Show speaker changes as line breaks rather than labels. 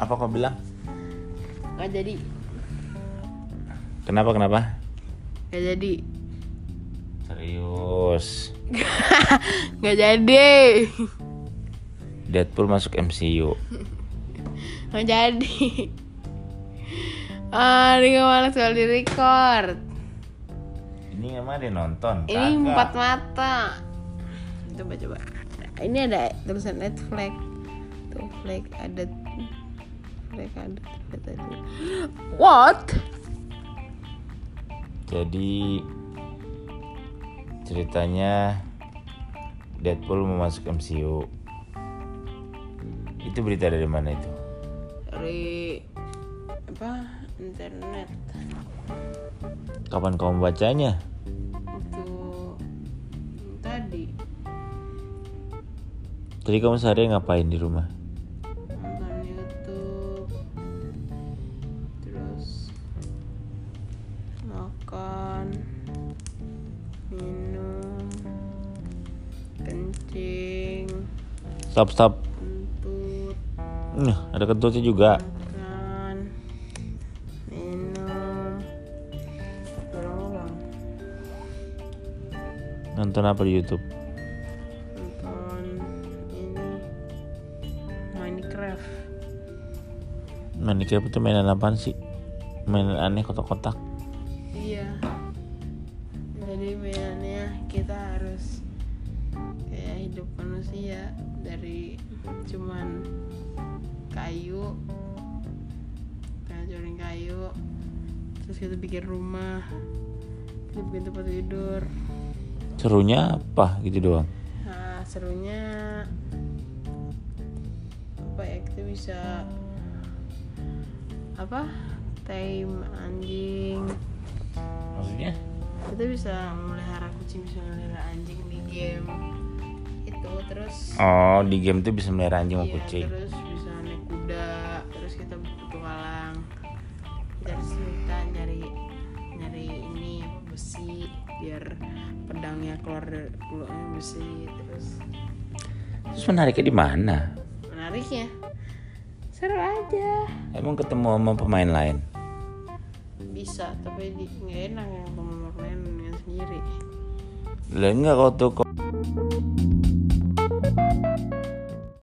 Apa kau bilang?
nggak jadi
Kenapa kenapa?
nggak jadi
Serius.
nggak jadi
Deadpool masuk MCU.
nggak jadi ah ini malas kalau di record
Ini emang ada yang nonton.
ini
Kagak.
empat mata coba coba ini ada tulisan Netflix tuh flag ada flag ada flag ada what
Jadi ceritanya Deadpool mau masuk MCU. Itu berita dari mana itu?
dari apa internet
Kapan kau membacanya?
itu tadi
Jadi kamu sehari ngapain di rumah?
nonton YouTube terus makan minum kencing
Stop stop.
kentut
Nah, ada kentutnya juga.
makan minum berulang
Nonton apa di YouTube?
nonton ini Minecraft
Nah, ini kira itu mainan apaan sih? Mainan aneh kotak-kotak.
Iya. Jadi mainannya kita harus kayak hidup manusia dari cuman kayu, hancurin kayu, terus kita bikin rumah, kita bikin tempat tidur.
Serunya apa gitu doang?
Nah, serunya apa ya kita bisa apa time anjing
Maksudnya?
kita bisa memelihara kucing bisa memelihara anjing di game itu terus
Oh, di game tuh bisa melihara anjing sama
iya,
kucing.
terus bisa naik kuda terus kita petualang kita harus kita nyari nyari ini besi biar pedangnya keluar dari bulunya besi terus
Terus menariknya di mana?
menariknya seru aja
Emang ketemu sama pemain lain?
bisa tapi di nggak enak yang pemain main dengan sendiri
Lah enggak kau tuh kau-